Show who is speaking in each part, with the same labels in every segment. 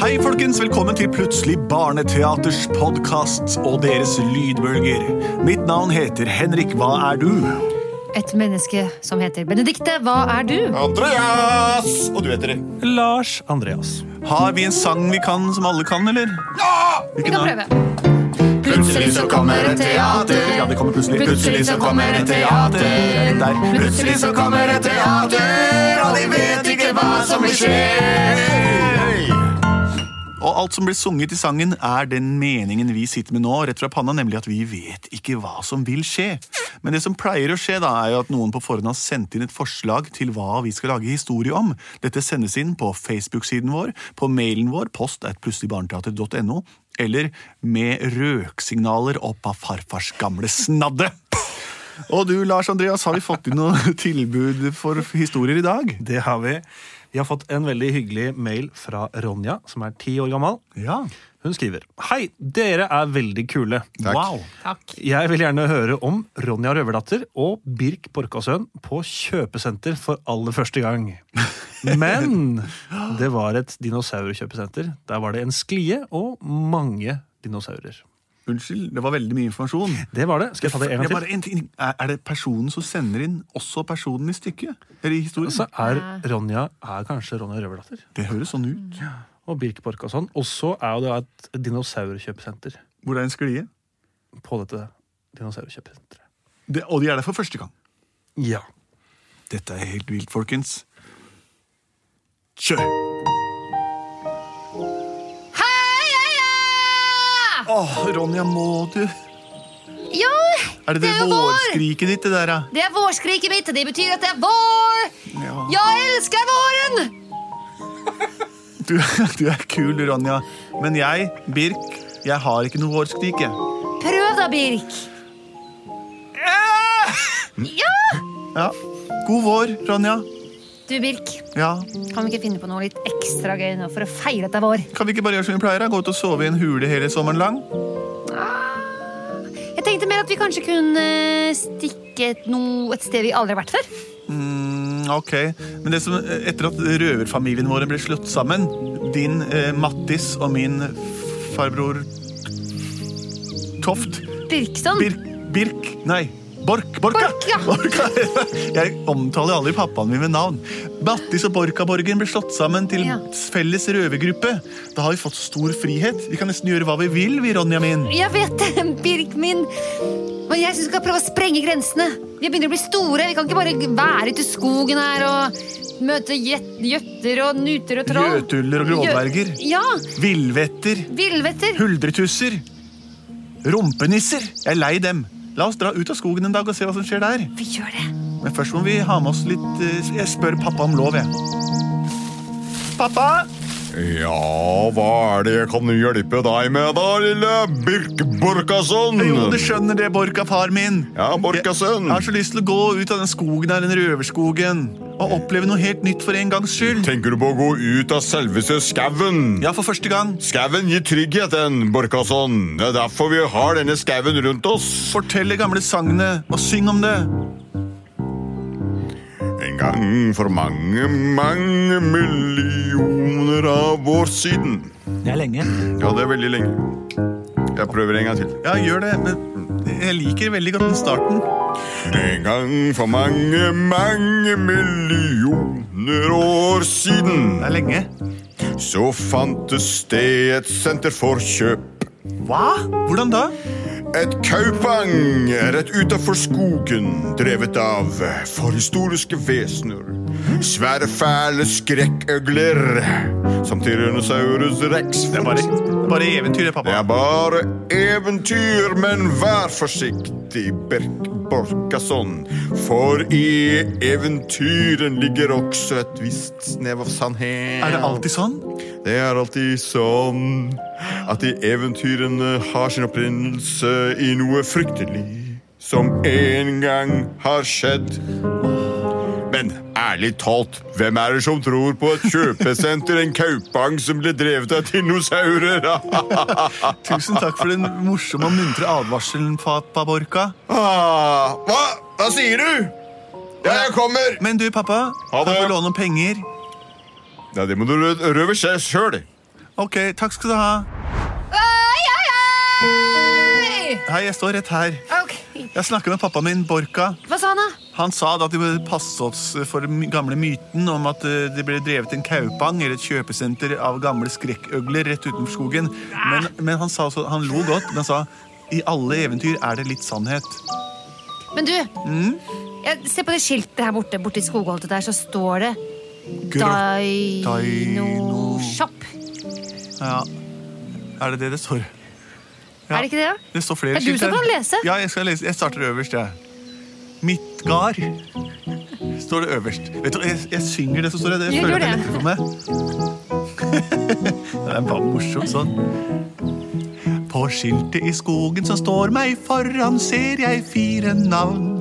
Speaker 1: Hei, folkens. Velkommen til Plutselig barneteaters podkast og deres lydbølger. Mitt navn heter Henrik. Hva er du?
Speaker 2: Et menneske som heter Benedikte, hva er du?
Speaker 3: Andreas! Og du heter det.
Speaker 4: Lars Andreas.
Speaker 1: Har vi en sang vi kan som alle kan, eller?
Speaker 2: Vi kan prøve.
Speaker 3: Plutselig så kommer et teater.
Speaker 1: Ja, det kommer plutselig.
Speaker 3: Plutselig så kommer et teater.
Speaker 1: Er den Der.
Speaker 3: Plutselig så kommer et teater, og de vet ikke hva som vil skje.
Speaker 1: Og alt som blir sunget i sangen, er den meningen vi sitter med nå, rett fra panna, nemlig at vi vet ikke hva som vil skje. Men det som pleier å skje, da, er jo at noen på forhånd har sendt inn et forslag til hva vi skal lage historie om. Dette sendes inn på Facebook-siden vår, på mailen vår, post at plutseligbarneteater.no, eller med røksignaler opp av farfars gamle snadde. Og du, Lars Andreas, har vi fått inn noen tilbud for historier i dag?
Speaker 4: Det har vi. Vi har fått en veldig hyggelig mail fra Ronja, som er ti år gammel.
Speaker 1: Ja.
Speaker 4: Hun skriver Hei, dere er veldig kule.
Speaker 1: Wow.
Speaker 4: Jeg vil gjerne høre om Ronja Røverdatter og Birk Borkasøen på kjøpesenter for aller første gang. Men det var et dinosaurkjøpesenter. Der var det en sklie og mange dinosaurer.
Speaker 1: Unnskyld, det var veldig mye informasjon.
Speaker 4: Det var det. Skal jeg ta det en
Speaker 1: Det er,
Speaker 4: gang
Speaker 1: bare
Speaker 4: til?
Speaker 1: en ting. Er, er det personen som sender inn også personen i stykket? Eller i historien?
Speaker 4: Så er Ronja er kanskje Ronja Røverdatter.
Speaker 1: det høres sånn ut.
Speaker 4: og Birk Borkasson. Og så er jo det et dinosaurkjøpesenter
Speaker 1: Hvor det er en sklie.
Speaker 4: på dette dinosaurkjøpesenteret.
Speaker 1: Det, og de er der for første gang.
Speaker 4: Ja.
Speaker 1: Dette er helt vilt, folkens. Kjør!
Speaker 2: Heia!
Speaker 1: Åh, Ronja, må du
Speaker 2: Jo,
Speaker 1: Er det det,
Speaker 2: er jo vår!
Speaker 1: vårskriket ditt, det der, da?
Speaker 2: Det er vårskriket mitt, og det betyr at det er vår!
Speaker 1: Ja.
Speaker 2: Jeg elsker våren!
Speaker 1: Du, du er kul, Ronja. Men jeg, Birk, jeg har ikke noe vårskrik, jeg.
Speaker 2: Prøv da, Birk. Ja!
Speaker 1: Ja. God vår, Ronja.
Speaker 2: Du, Birk,
Speaker 1: Ja.
Speaker 2: kan vi ikke finne på noe litt ekstra gøy nå for å feire at det er vår?
Speaker 1: Kan vi ikke bare gjøre som vi pleier? da? Gå ut og sove i en hule hele sommeren lang?
Speaker 2: Jeg tenkte mer at vi kanskje kunne stikke et, no, et sted vi aldri har vært før.
Speaker 1: Mm, ok, men det som, eh, etter at røverfamilien vår ble slått sammen, din eh, Mattis og min farbror Toft
Speaker 2: Birkson.
Speaker 1: Birk, Birk Nei, Bork, Borka!
Speaker 2: Bork, ja.
Speaker 1: Borka. Jeg omtaler aldri pappaen min ved navn. Mattis og Borkaborgen ble slått sammen til
Speaker 2: Ja.
Speaker 1: felles røvergruppe. Da har vi fått stor frihet. Vi kan nesten gjøre hva vi vil, vi, Ronja min.
Speaker 2: Jeg vet det, Birk min. Men jeg syns vi skal prøve å sprenge grensene. Vi begynner å bli store. Vi kan ikke bare være ute i skogen her og møte gjet- gjøtter og nuter og troll.
Speaker 1: Gjøtuller og grådverger.
Speaker 2: Gjø- Ja.
Speaker 1: Villvetter.
Speaker 2: Villvetter.
Speaker 1: Huldretusser. Rumpenisser. Jeg er lei dem. La oss dra ut av skogen en dag og se hva som skjer der.
Speaker 2: Vi gjør det.
Speaker 1: Men først må vi ha med oss litt eh, Jeg spør pappa om lov, jeg. Pappa!
Speaker 3: Ja, hva er det jeg kan hjelpe deg med da, lille Birk Borkasson?
Speaker 1: Jo, du skjønner det, Borka, far min.
Speaker 3: Ja, Borkasson.
Speaker 1: Jeg har så lyst til å gå ut av den skogen her, den røverskogen, og oppleve noe helt nytt for en gangs skyld.
Speaker 3: Tenker du på å gå ut av selveste skauen?
Speaker 1: Ja, for første gang.
Speaker 3: Skauen gir trygghet, den, Borkasson. Det er derfor vi har denne skauen rundt oss.
Speaker 1: Fortell de gamle sangene, og syng om det.
Speaker 3: En gang for mange, mange millioner av år siden.
Speaker 1: Det er lenge.
Speaker 3: Ja, det er veldig lenge. Jeg prøver en gang til.
Speaker 1: Ja, gjør det. Men jeg liker veldig godt den starten.
Speaker 3: En gang for mange, mange millioner år siden
Speaker 1: Det er lenge.
Speaker 3: så fantes det et senter for kjøp.
Speaker 1: Hva? Hvordan da?
Speaker 3: Et kaupang rett utafor skogen, drevet av forhistoriske vesener. Svære, fæle skrekkøgler som Tyrannosaurus rex.
Speaker 1: Det er bare, bare eventyr, det,
Speaker 3: Det
Speaker 1: pappa.
Speaker 3: er bare eventyr, men vær forsiktig, Birk Borkasson. For i eventyren ligger også et visst snev av sannhet.
Speaker 1: Er det alltid sånn?
Speaker 3: Det er alltid sånn at de eventyrene har sin opprinnelse i noe fryktelig som en gang har skjedd. Men ærlig talt, hvem er det som tror på et kjøpesenter, en kaupang som ble drevet av dinosaurer? Ah,
Speaker 1: Tusen takk for den morsomme og muntre advarselen, pappa Borka.
Speaker 3: Ah, hva? Hva sier du? Ja, jeg kommer!
Speaker 1: Men du, pappa,
Speaker 3: Ha
Speaker 1: kan
Speaker 3: det.
Speaker 1: jeg få låne noen penger?
Speaker 3: Ja, det må du rø- røve sjøl.
Speaker 1: Ok, takk skal du ha.
Speaker 2: Oi, oi, oi!
Speaker 1: Hei, jeg står rett her.
Speaker 2: Ok,
Speaker 1: Jeg snakker med pappaen min, Borka.
Speaker 2: Hva sa han, da?
Speaker 1: Han sa da at de burde passe oss for den gamle myten om at eh, det ble drevet en kaupang eller et kjøpesenter av gamle skrekkøgler rett utenfor skogen. Men, men han, sa også, han lo godt, men han sa i alle eventyr er det litt sannhet.
Speaker 2: Men du, jeg ser på det skiltet her borte, borte i skogholtet der, så står det
Speaker 1: Gro- Dino-
Speaker 2: Dino-shop.
Speaker 1: Ja. Er det det det står? Ja.
Speaker 2: Er det ikke det? da?
Speaker 1: Det står flere
Speaker 2: Er du
Speaker 1: skilt
Speaker 2: som
Speaker 1: her.
Speaker 2: kan lese?
Speaker 1: Ja, jeg skal lese. Jeg starter øverst, jeg. Midtgard står det øverst. Vet du, jeg, jeg synger det som står her. Det
Speaker 2: Ja,
Speaker 1: føler
Speaker 2: gjør
Speaker 1: jeg at jeg
Speaker 2: det.
Speaker 1: letter for meg. det var morsomt sånn. På skiltet i skogen som står meg foran, ser jeg fire navn.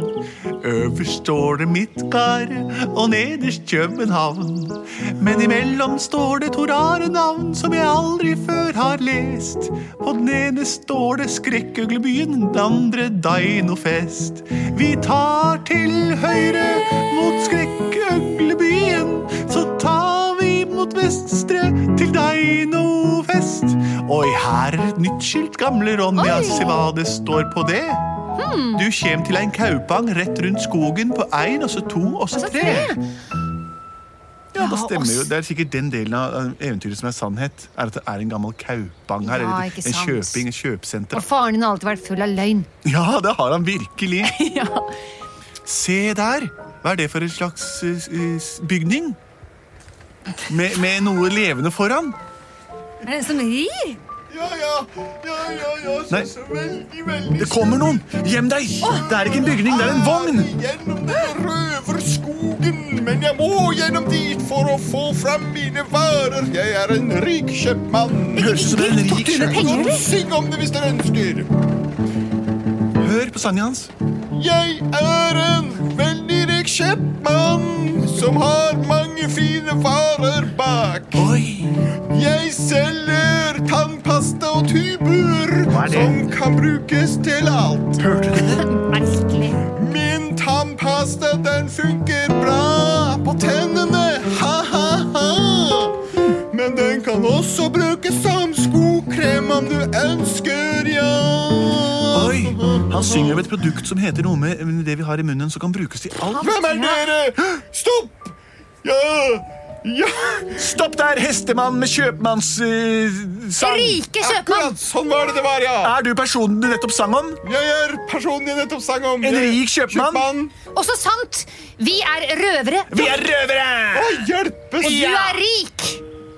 Speaker 1: Øverst står det Midtgard, og nederst København. Men imellom står det to rare navn som jeg aldri før har lest. På den ene står det Skrekkøglebyen, den andre Dainofest. Vi tar til høyre mot Skrekkøglebyen, så tar vi mot Vestre til Dainofest. Oi, her er et nytt skilt, gamle Ronja,
Speaker 2: Oi. Hmm.
Speaker 1: se hva det står på det. Du kjem til ein kaupang rett rundt skogen på én, og så to, og så
Speaker 2: Og så
Speaker 1: tre.
Speaker 2: tre.
Speaker 1: Ja, det
Speaker 2: Ja,
Speaker 1: stemmer jo.
Speaker 2: ass.
Speaker 1: Det er sikkert den delen av eh, eventyret som er sannhet. Er at det er en gammel kaupang her.
Speaker 2: Ja,
Speaker 1: eller
Speaker 2: ikke
Speaker 1: en
Speaker 2: sant.
Speaker 1: kjøping, et
Speaker 2: Og
Speaker 1: kjøpesenter.
Speaker 2: faren din har alltid vært full av løgn.
Speaker 1: Ja, det har han virkelig.
Speaker 2: ja.
Speaker 1: Se der! Hva er det for en slags eh, s- bygning? Med, med noe levende foran?
Speaker 2: Er det en som rir?
Speaker 3: Ja, ja, ja, ja, ja, så,
Speaker 1: Nei.
Speaker 3: så veldig, veldig
Speaker 1: Det kommer noen! Gjem deg! Det er ikke en bygning, det er en vogn!
Speaker 3: Jeg er Gjennom denne røverskogen, men jeg må gjennom dit for å få fram mine varer. Jeg er en rik kjøpmann.
Speaker 1: Høres ut som en rik
Speaker 2: du med
Speaker 1: kjøpmann.
Speaker 2: penger, eller?
Speaker 3: Syng om det hvis dere ønsker.
Speaker 1: Hør på sangen hans.
Speaker 3: Jeg er en veldig rik kjøpmann som har mange fine varer bak.
Speaker 1: Oi!
Speaker 3: Jeg selger tannpasta og tuber
Speaker 1: Hva er det?
Speaker 3: som kan brukes til alt.
Speaker 1: Hørte du det?
Speaker 2: Merkelig.
Speaker 3: Min tannpasta, den funker bra på tennene, ha-ha-ha. Men den kan også brukes som skokrem om du ønsker, ja.
Speaker 1: Oi! Han synger om et produkt som heter noe med med det vi har i munnen, som kan brukes til alt.
Speaker 3: Hvem er dere? Stopp! Ja, ja.
Speaker 1: Stopp der, hestemann med kjøpmannssang!
Speaker 2: Rike kjøpmann!
Speaker 3: Akkurat sånn var det det var, ja.
Speaker 1: er du personen du nettopp sang om?
Speaker 3: Jeg er personen jeg nettopp sang om.
Speaker 1: En
Speaker 3: Jeg er
Speaker 1: rik kjøpmann?
Speaker 3: kjøpmann.
Speaker 2: Og så sant! Vi er røvere,
Speaker 1: Vi er røvere!
Speaker 3: Å, hjelpes!
Speaker 2: og du
Speaker 1: Ja.
Speaker 2: er rik!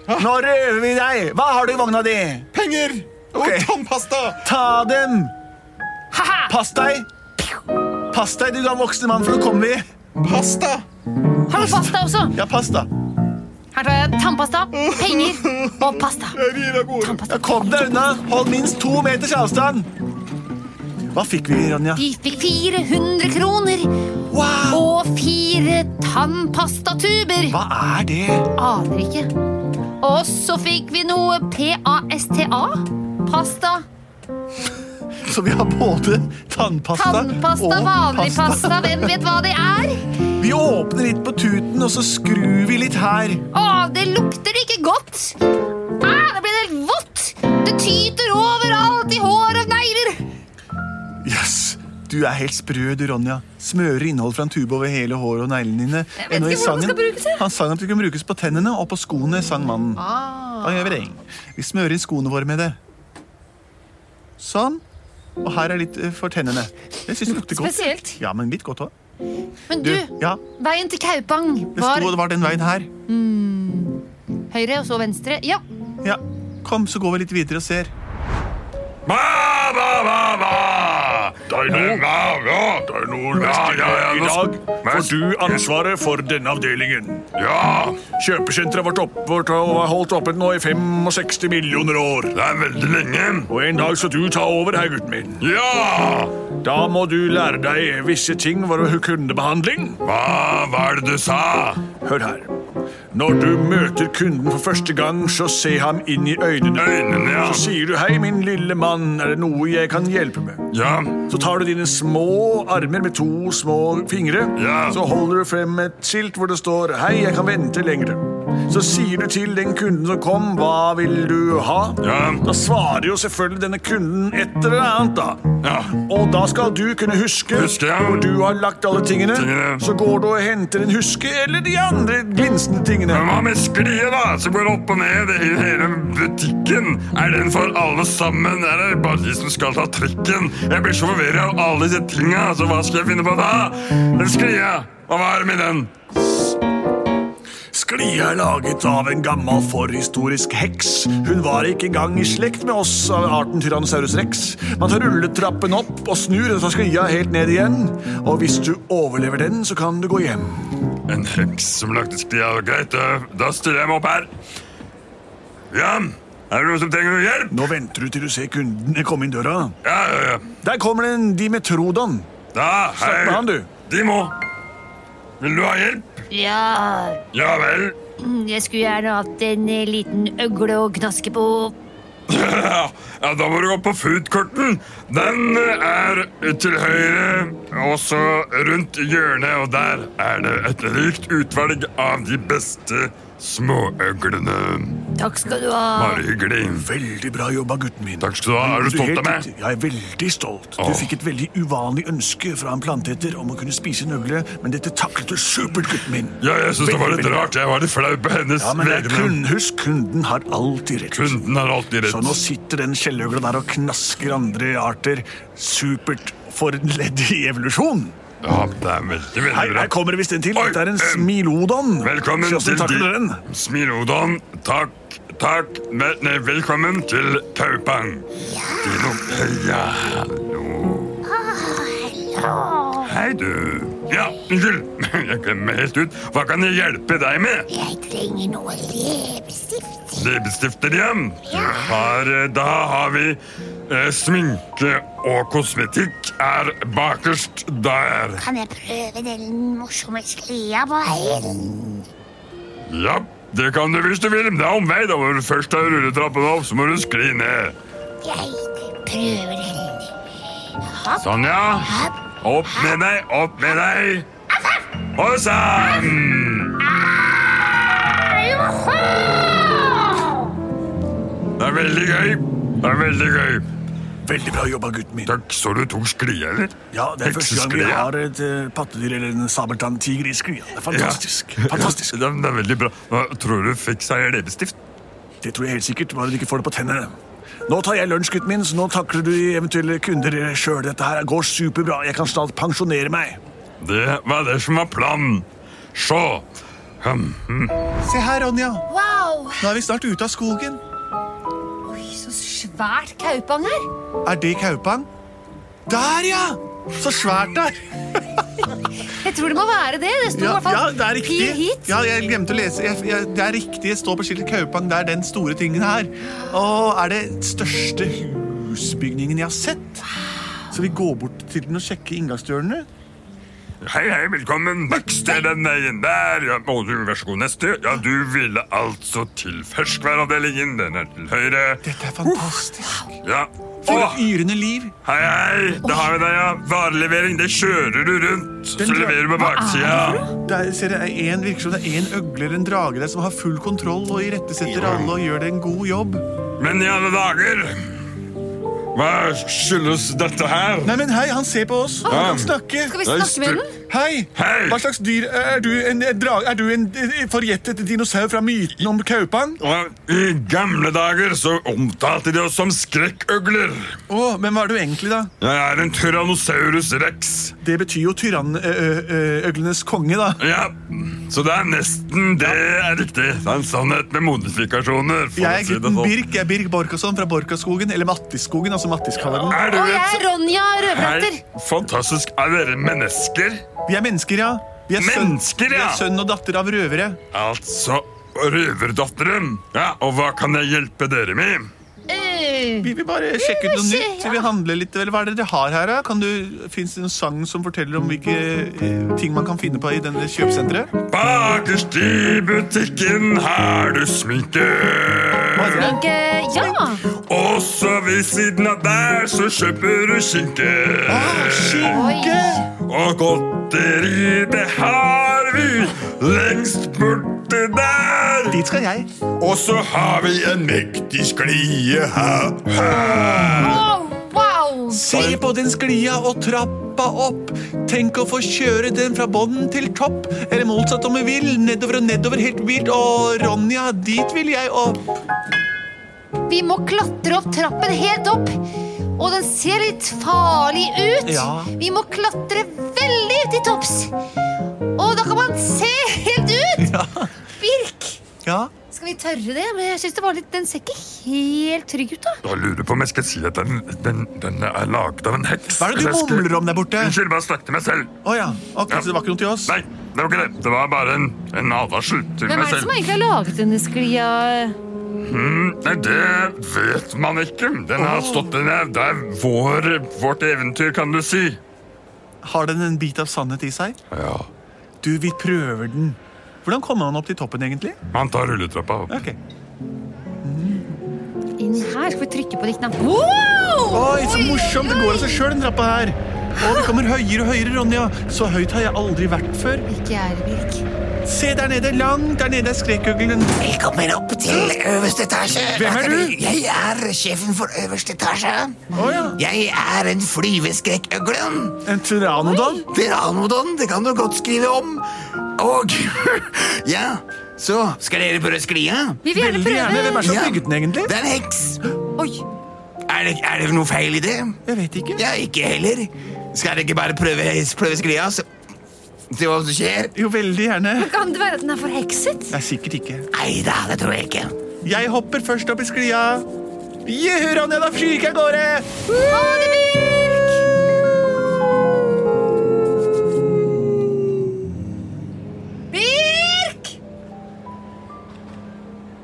Speaker 1: Nå røver vi deg! Hva har du i vogna di?
Speaker 3: Penger og
Speaker 1: Ok.
Speaker 3: tannpasta.
Speaker 1: Ta dem!
Speaker 2: Ha-ha!
Speaker 1: Pass deg! Pass deg, du er voksen mann, for nå kommer vi.
Speaker 3: Pasta.
Speaker 2: Har du pasta også?
Speaker 1: Ja, pass, da.
Speaker 2: Her tar jeg tannpasta, penger og pasta.
Speaker 3: Jeg rir av gårde.
Speaker 1: Ja, kom deg unna! Hold minst to meters avstand! Hva fikk vi, Ronja?
Speaker 2: Vi fikk 400 kroner.
Speaker 1: Wow!
Speaker 2: Og fire tannpastatuber!
Speaker 1: Hva er det?
Speaker 2: Aner ikke. Og så fikk vi noe PASTA. Pasta.
Speaker 1: Så vi har både tannpasta,
Speaker 2: Tannpasta,
Speaker 1: og
Speaker 2: vanlig pasta. Hvem vet hva det er?
Speaker 1: Vi åpner litt på tuten, og så skrur vi litt her.
Speaker 2: Å, det lukter ikke godt. Æ, det blir helt vått. Det tyter overalt i hår og negler.
Speaker 1: Yes. Du er helt sprø, du, Ronja. Smører innhold fra en tube over hele håret og neglene dine.
Speaker 2: vet ikke
Speaker 1: Ennå i
Speaker 2: hvordan det skal brukes, jeg.
Speaker 1: Han sang at det kunne brukes på tennene og på skoene, sang mannen.
Speaker 2: Ah.
Speaker 1: Da gjør vi det. Vi smører inn skoene våre med det. Sånn. Og her er litt eh, for tennene. Det syns jeg lukter godt.
Speaker 2: Spesielt.
Speaker 1: Ja, men litt godt òg.
Speaker 2: Men du,
Speaker 1: ja,
Speaker 2: veien til Kaupang
Speaker 1: det
Speaker 2: var
Speaker 1: sto det var den veien her.
Speaker 2: høyre og så venstre. Ja,
Speaker 1: Ja. Kom, så går vi litt videre og ser.
Speaker 5: Ba, ba, ba, ba. Dino, ja, ja. ja, ja.
Speaker 6: I dag får du ansvaret for denne avdelingen.
Speaker 5: Ja,
Speaker 6: Kjøpesenteret vårt opp, vårt, har holdt oppe nå i 65 millioner år.
Speaker 5: det er veldig lenge.
Speaker 6: Og en dag skal du ta over her, gutten min.
Speaker 5: Ja!
Speaker 6: Da må du lære deg visse ting for kundebehandling.
Speaker 5: Hva var det du sa?
Speaker 6: Hør her. Når du møter kunden for første gang, så se ham inn i øynene.
Speaker 5: Øynene, ja.
Speaker 6: Så sier du 'Hei, min lille mann, er det noe jeg kan hjelpe med?'
Speaker 5: Ja,
Speaker 6: Så tar du dine små armer med to små fingre.
Speaker 5: Ja.
Speaker 6: Så holder du frem et skilt hvor det står 'Hei, jeg kan vente lengre'. Så sier du til den kunden som kom, hva vil du ha?
Speaker 5: Ja.
Speaker 6: Da svarer jo selvfølgelig denne kunden et eller annet, da.
Speaker 5: Ja.
Speaker 6: Og da skal du kunne huske
Speaker 5: Huske, ja.
Speaker 6: hvor du har lagt alle tingene.
Speaker 5: Tingene.
Speaker 6: Så går du og henter en huske eller de andre glinsende tingene.
Speaker 5: Men hva med sklie, da? Som går opp og ned i hele butikken. Er den for alle sammen? Er det bare de som skal ta trikken? Jeg blir så forvirra av alle disse tinga, så hva skal jeg finne på da? Den sklia, hva var det med den?
Speaker 6: Sklia er laget av en gammel forhistorisk heks. Hun var ikke engang i slekt med oss av arten Tyrannosaurus rex. Man tar rulletrappen opp og snur og tar sklia helt ned igjen. Og hvis du overlever den, så kan du gå hjem.
Speaker 5: En heks som lagde sklia. Greit, da- da stiller jeg meg opp her. Ja, er det noen som trenger noe hjelp?
Speaker 6: Nå venter du til du ser kundene komme inn døra.
Speaker 5: Ja, ja, ja.
Speaker 6: Der kommer det en dimetrodon.
Speaker 5: Da,
Speaker 6: Snakk med han,
Speaker 5: hei.
Speaker 6: du.
Speaker 5: De må. Vil du ha hjelp?
Speaker 2: Ja, Mm,
Speaker 5: Ja vel.
Speaker 2: jeg skulle gjerne hatt en eh, liten øgle å gnaske på.
Speaker 5: Ja, ja, da må du gå på foodkorten. Den eh, er til høyre, og så rundt hjørnet, og der er det et rikt utvalg av de beste småøglene.
Speaker 2: Takk skal du ha.
Speaker 5: Bare hyggelig.
Speaker 6: Veldig bra jobba, gutten min.
Speaker 5: Takk skal du ha. Er du stolt
Speaker 6: helt
Speaker 5: av meg?
Speaker 6: riktig. Jeg er veldig stolt.
Speaker 5: Åh.
Speaker 6: Du fikk et veldig uvanlig ønske fra en planteeter om å kunne spise en øgle, men dette taklet du supert, gutten min.
Speaker 5: Ja, jeg syns det var litt
Speaker 6: Veldig bra.
Speaker 5: rart. Jeg var litt flau på hennes
Speaker 6: Ja, men det er
Speaker 5: vegne.
Speaker 6: kun, husk, kunden har alltid rett.
Speaker 5: Kunden har alltid
Speaker 6: Så nå
Speaker 5: rett.
Speaker 6: sitter den skjelløgla der og knasker andre arter. Supert for en ledd i evolusjon.
Speaker 5: Ja, det er veldig,
Speaker 6: Her,
Speaker 5: veldig
Speaker 6: her
Speaker 5: bra.
Speaker 6: kommer det visst en til.
Speaker 5: Oi,
Speaker 6: Dette er en
Speaker 5: eh,
Speaker 6: smilodon.
Speaker 5: Velkommen
Speaker 6: Se hvordan
Speaker 5: til
Speaker 6: takler den.
Speaker 5: de Smilodon. Takk, takk. Vel- Nei, velkommen til Taupang. Ja. ja, hallo. Hei, du. Ja, unnskyld. Jeg glemmer helt ut. Hva kan jeg hjelpe deg med?
Speaker 7: Jeg trenger noe leppestift.
Speaker 5: Leppestifter igjen. Du har, eh, da har vi eh, sminke og kosmetikk er bakerst der.
Speaker 7: Kan jeg prøve den morsomme sklia på veien?
Speaker 5: Ja, det kan du hvis du vil. Men det er omvei. Da når du først har rulletrappen opp, så må du skli ned.
Speaker 7: Jeg prøver den. Hopp,
Speaker 5: Sånn, ja.
Speaker 7: hopp.
Speaker 5: Opp med deg, opp med deg. Og sann! Det er veldig gøy. Det er veldig gøy.
Speaker 6: Veldig bra jobba, gutten min.
Speaker 5: Takk, så du tok sklie, eller?
Speaker 6: Ja, det er første gang vi
Speaker 5: Heksesklie.
Speaker 6: har et eh, pattedyr eller en sabeltanntiger i sklia. Det er fantastisk.
Speaker 5: Ja.
Speaker 6: fantastisk.
Speaker 5: Ja, det er veldig bra. Hva, tror du fikk seg leppestift?
Speaker 6: Det tror jeg helt sikkert, bare du ikke får det på tennene. Nå tar jeg lunsj, gutten min, så nå takler du eventuelle kunder eh, sjøl. Dette her går superbra. Jeg kan snart pensjonere meg.
Speaker 5: Det var det som var planen. Se. Hm, hm.
Speaker 1: Se her, Ronja.
Speaker 2: Wow,
Speaker 1: Nå er vi snart ute av skogen.
Speaker 2: så svært kaupang her.
Speaker 1: Er det Kaupang? Der, ja! Så svært der.
Speaker 2: Jeg tror det må være det. Det sto i
Speaker 1: Ja,
Speaker 2: hvert fall
Speaker 1: ja, det er
Speaker 2: pil
Speaker 1: riktig.
Speaker 2: hit.
Speaker 1: Ja, jeg glemte å lese. Jeg, jeg, det er riktig. Det står på skiltet Kaupang. Det er den store tingen her. Og er det største husbygningen jeg har sett. Så vi går bort til den og sjekker inngangsdørene.
Speaker 5: Hei, hei, velkommen. Bakster den veien der. Ja, må du, vær så god, neste. Ja, du ville altså til ferskværavdelingen. Den er til høyre.
Speaker 1: Dette er fantastisk.
Speaker 5: Ja.
Speaker 1: For
Speaker 5: Åh,
Speaker 1: et yrende liv.
Speaker 5: Hei, hei! Da har vi deg, ja. Varelevering, det kjører du rundt. Så
Speaker 1: Den dra-
Speaker 5: leverer du på baksida.
Speaker 1: Det er, ser jeg, en, virker som det er en øgle eller en drage der som har full kontroll og irettesetter alle og gjør det en god jobb.
Speaker 5: Men i alle dager Hva skyldes dette her?
Speaker 1: Nei, men hei, han ser på oss. Han kan
Speaker 2: Skal
Speaker 1: snakke.
Speaker 2: vi
Speaker 5: Nei,
Speaker 2: snakke med
Speaker 5: stru-
Speaker 2: den?
Speaker 1: Hei!
Speaker 5: Hei!
Speaker 1: Hva slags dyr er du? En, en drage? Er du en eh, forjettet dinosaur fra myten om Kaupang?
Speaker 5: Og I gamle dager så omtalte de oss som skrekkøgler.
Speaker 1: Å, men hva er du egentlig, da?
Speaker 5: Jeg er en tyrannosaurus rex.
Speaker 1: Det betyr jo tyrannøglenes konge, da.
Speaker 5: Ja, Så det er nesten det er riktig. Det er en sannhet med modifikasjoner. for
Speaker 1: Jeg
Speaker 5: å
Speaker 1: er
Speaker 5: si det
Speaker 1: gutten
Speaker 5: sånn.
Speaker 1: Birk jeg er Birk Borkason fra Borkaskogen, eller Mattisskogen, altså Mattis kaller den.
Speaker 5: Er du
Speaker 2: Og jeg
Speaker 5: et
Speaker 2: er Ronja Rødbratter.
Speaker 5: Hei, fantastisk. Er dere mennesker?
Speaker 1: Vi er mennesker, ja. Vi er sønn,
Speaker 5: Mennesker,
Speaker 1: vi
Speaker 5: ja.
Speaker 1: er sønn og datter av røvere.
Speaker 5: Altså røverdatteren. Ja, og hva kan jeg hjelpe dere med?
Speaker 2: Eh,
Speaker 1: Vi vil bare sjekke ut noe
Speaker 2: se,
Speaker 1: nytt.
Speaker 2: ja.
Speaker 1: Vi vil handle litt, eller Hva er det dere har her? da? Kan du, Fins det noen sang som forteller om hvilke eh, ting man kan finne på i denne kjøpesenteret?
Speaker 5: Bakerst i butikken har du sminke.
Speaker 2: Sminke Ja!
Speaker 5: Og så ved siden av der så kjøper du skinke.
Speaker 1: Ah, Skinke!
Speaker 5: Og godteri, det har vi lengst bort borti der!
Speaker 1: Dit skal jeg.
Speaker 5: Og så har vi en mektig sklie her. her.
Speaker 2: Wow, wow!
Speaker 1: Se på den sklia og trappa opp. Tenk å få kjøre den fra bånn til topp. Eller motsatt om vi vil. Nedover og nedover helt vilt. Og Ronja, dit vil jeg opp.
Speaker 2: Vi må klatre opp trappen helt opp. Og den ser litt farlig ut.
Speaker 1: Ja.
Speaker 2: Vi må klatre veldig til topps. Og da kan man se helt ut! Birk!
Speaker 1: Ja,
Speaker 2: Skal vi tørre det? Men jeg synes det var litt, Den ser ikke helt trygg ut, da.
Speaker 5: Jeg lurer på om jeg skal si at den, den, den er laget av en heks.
Speaker 1: Hva er det du
Speaker 5: Jeg skal-
Speaker 1: mumler om der borte?
Speaker 5: Unnskyld, bare snakk til meg selv.
Speaker 1: Å ja. Ok, så det var ikke noe til oss?
Speaker 5: Nei, det var ikke det. Det var bare en, en advarsel til
Speaker 2: Hvem
Speaker 5: meg
Speaker 2: er det
Speaker 5: selv.
Speaker 2: som egentlig har laget denne sklia?
Speaker 5: Nei, det vet man ikke. Den har stått den er, Det er vår, vårt eventyr, kan du si.
Speaker 1: Har den en bit av sannhet i seg?
Speaker 5: Ja.
Speaker 1: Du, vi prøver den. Hvordan kommer man opp til toppen, egentlig?
Speaker 5: Man tar rulletrappa opp.
Speaker 1: Ok.
Speaker 2: Inn her. Skal vi trykke på de knappene? Wow!
Speaker 1: Oi, så morsomt! Det går av seg sjøl, den trappa her. Og det kommer høyere og høyere, Ronja. Så høyt har jeg aldri vært før.
Speaker 2: Ikke jeg, Birk.
Speaker 1: Se der nede, langt der nede er skrekkuglen.
Speaker 8: Velkommen opp til øverste etasje.
Speaker 1: Hvem er du?
Speaker 8: Jeg er sjefen for øverste etasje.
Speaker 1: Å ja.
Speaker 8: Jeg er en flyveskrekkøglen.
Speaker 1: En tyranodon?
Speaker 8: Pteranodon, det kan du godt skrive om. Og ja, så skal dere prøve sklia?
Speaker 2: Vi vil gjerne
Speaker 1: Veldig gjerne. Hvem er
Speaker 2: prøve.
Speaker 1: det som
Speaker 8: Ja.
Speaker 1: har bygget den, egentlig?
Speaker 8: Det er en heks.
Speaker 2: Oi,
Speaker 8: Er det, er det noe feil i det?
Speaker 1: Jeg vet ikke.
Speaker 8: Ja, ikke heller. Skal dere ikke bare prøve, prøve sklia, så se hva som skjer?
Speaker 1: Jo, veldig gjerne.
Speaker 2: Kan det være at den er forhekset?
Speaker 1: Nei, sikkert ikke.
Speaker 8: Nei da, det tror jeg ikke.
Speaker 1: Jeg hopper først opp i sklia. Juhu, Ronja, da flyr ikke av gårde!
Speaker 2: Ha det, Birk! Birk!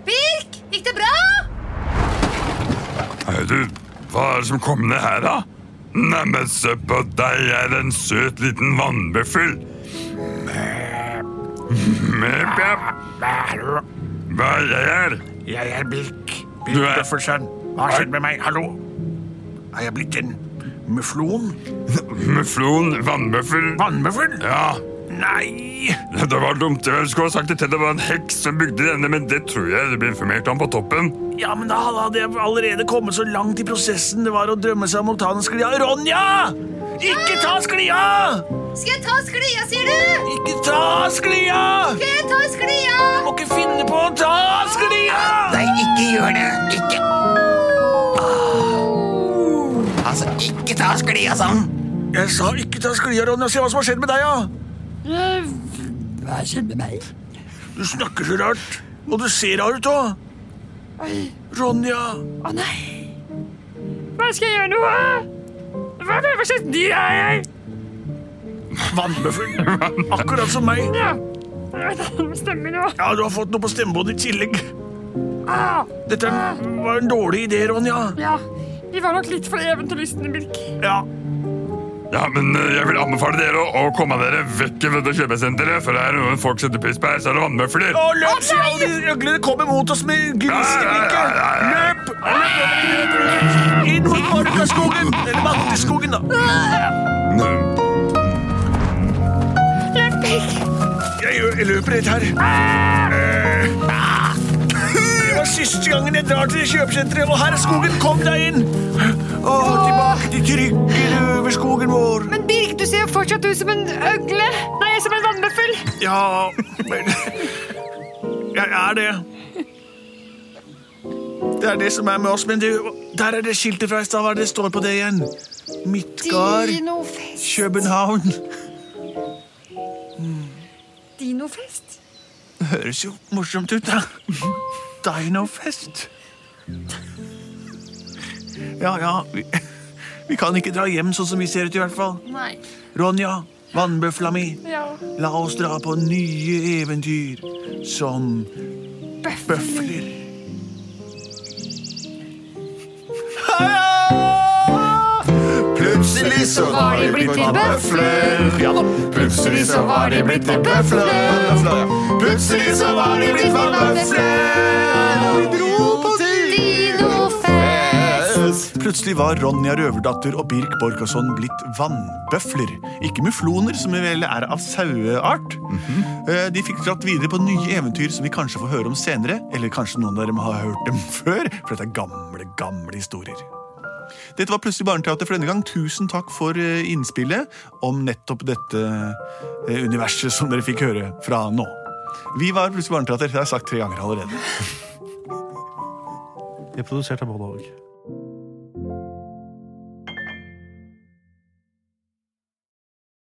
Speaker 2: Birk, gikk det bra?
Speaker 5: Hei, du. Hva er det som kom ned her, da? Neimen, se på deg, jeg er en søt liten vannbøffel. Mæ, mæ. Hva er jeg her?
Speaker 6: Jeg er Birk.
Speaker 5: Du
Speaker 6: Birk
Speaker 5: er-
Speaker 6: Bøffelsen. Hva har skjedd med meg? Hallo? Er jeg blitt en muflon?
Speaker 5: Muflon vannbøffel?
Speaker 6: Vannmøffel?
Speaker 5: Ja.
Speaker 6: Nei!
Speaker 5: Det var dumt. Jeg skulle ha sagt det til deg. Det var en heks som bygde denne, men det tror jeg det ble informert om på toppen.
Speaker 6: Ja, men da hadde jeg allerede kommet så langt i prosessen det var å drømme seg om å ta den sklia. Ronja! Ikke ta sklia!
Speaker 2: Skal jeg ta sklia, sier du?
Speaker 6: Ikke ta sklia!
Speaker 2: Skal jeg ta sklia?
Speaker 6: Du må ikke finne på å ta sklia!
Speaker 8: Nei, ikke gjør det. Ikke. Ah. Altså, ikke ta sklia sånn.
Speaker 6: Jeg sa ikke ta sklia, Ronja. Se hva som har skjedd med deg, ja.
Speaker 8: Hva skjedde med meg?
Speaker 6: Du snakker så rart. Og du ser rar ut òg. Ronja.
Speaker 9: Hva skal jeg gjøre nå? Hva, hva, hva slags dyr er jeg?
Speaker 6: Vannbøffel. Akkurat som meg.
Speaker 9: Ja. Stemmer nå.
Speaker 6: Ja, Du har fått noe på stemmebåndet i tillegg.
Speaker 9: Ah,
Speaker 6: Dette er- var en dårlig idé, Ronja.
Speaker 9: ja. Vi var nok litt for eventyrlystne, Birk.
Speaker 6: Ja,
Speaker 5: Ja, men eh, jeg vil anbefale dere å, å komme dere vekk fra det kjøpesenteret, for det er noen folk setter pris på her, så er det vannmøfler.
Speaker 6: Å, løp! Se alle de øglene kommer mot oss med gnisteblikket! Løp! Løp! Inn mot Markaskogen! Eller Matteskogen, da. Jeg, gjør- jeg løper rett her. Det var siste gangen jeg drar til det kjøpesenteret, og her er skogen. Kom deg inn! Å, tilbake til trygge røverskogen vår.
Speaker 9: Men Birk, du ser jo fortsatt ut som en øgle. Nei, som en vannbøffel.
Speaker 6: Ja, men Jeg er det. Det er det som er med oss, men du, der er det skiltet fra i stad. Hva er det det står på det igjen? Midtgard,
Speaker 2: Dinofest.
Speaker 6: København.
Speaker 2: Dinofest?
Speaker 6: Det høres jo morsomt ut, da. Dinofest. Ja, ja. Vi, vi kan ikke dra hjem sånn som vi ser ut, i hvert fall.
Speaker 2: Nei.
Speaker 6: Ronja, vannbøfla mi,
Speaker 9: Ja.
Speaker 6: la oss dra på nye eventyr som bøfler.
Speaker 3: Plutselig så
Speaker 2: var de blitt til
Speaker 3: vannbøfler.
Speaker 6: Ja da.
Speaker 3: Plutselig så
Speaker 2: var de blitt til bøfler.
Speaker 3: Plutselig så var de
Speaker 2: blitt vannbøfler.
Speaker 3: Og vi dro på
Speaker 2: Dinofest.
Speaker 1: Plutselig var Ronja Røverdatter og Birk Borkason blitt vannbøfler. Ikke mufloner, som vel er av saueart. Eh, De fikk dratt videre på nye eventyr som vi kanskje får høre om senere. Eller kanskje noen av dem har hørt dem før, for dette er gamle, gamle historier. Dette var Plutselig barneteater for denne gang. Tusen takk for eh, innspillet om nettopp dette eh, universet som dere fikk høre fra nå. Vi var Plutselig barneteater. Det har jeg sagt tre ganger allerede.
Speaker 4: Vi er produsert av både og.